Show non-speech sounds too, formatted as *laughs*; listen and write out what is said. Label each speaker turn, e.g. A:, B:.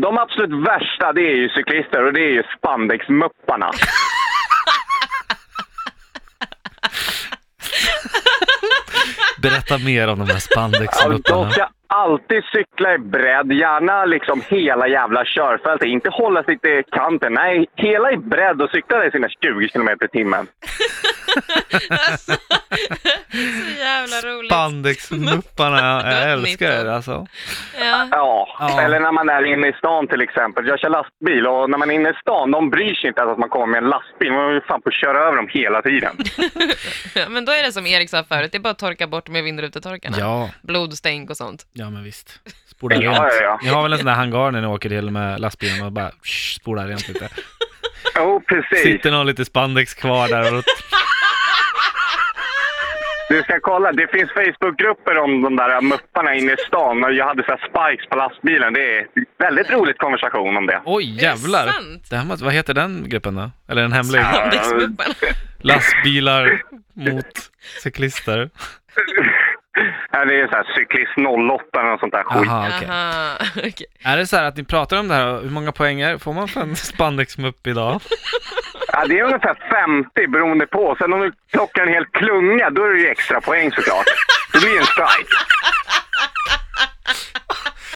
A: de absolut värsta det är ju cyklister och det är ju
B: *laughs*
A: spandexmupparna.
B: Berätta mer om de här
A: De
B: spandexmupparna.
A: ska alltid cykla i bredd, gärna liksom hela jävla körfältet. Inte hålla sig till kanten, nej, hela i bredd och cykla i sina 20 kilometer i timmen.
C: Alltså, så jävla roligt.
B: Spandexmupparna, jag, jag älskar det alltså.
C: Ja.
A: Ja.
B: Ja.
A: eller när man är inne i stan till exempel. Jag kör lastbil och när man är inne i stan, de bryr sig inte ens att man kommer med en lastbil. Man vill fan på att köra över dem hela
B: *laughs*
A: tiden.
C: Ja, Men då är det som Erik sa förut, det är bara att torka bort med vindrutetorkarna.
B: Ja,
C: Blodstänk och sånt.
B: ja men visst. Spola
A: Ja,
B: rent.
A: ja, ja.
B: Ni har väl en sån där hangar när ni åker till med lastbilen och bara shh, spola rent lite.
A: Jo, precis.
B: Sitter någon lite spandex kvar där och
A: Du ska kolla, det finns Facebookgrupper om de där mupparna inne i stan. Och jag hade så här spikes på lastbilen. Det är väldigt roligt konversation om det.
B: Oj
C: det
B: jävlar!
C: sant?
B: Det här måste, vad heter den gruppen då? Eller en hemlig?
C: Spandexmupparna.
B: Lastbilar mot cyklister?
A: *laughs* Ja, Det är så här cyklist 08 eller något sånt där skit.
B: Aha, okej.
C: Aha, okej.
B: Är det så här att ni pratar om det här, hur många poänger får man för en spandexmupp idag?
A: Ja, det är ungefär 50 beroende på. Sen om du plockar en hel klunga, då är det ju extra poäng såklart. Det blir en strike.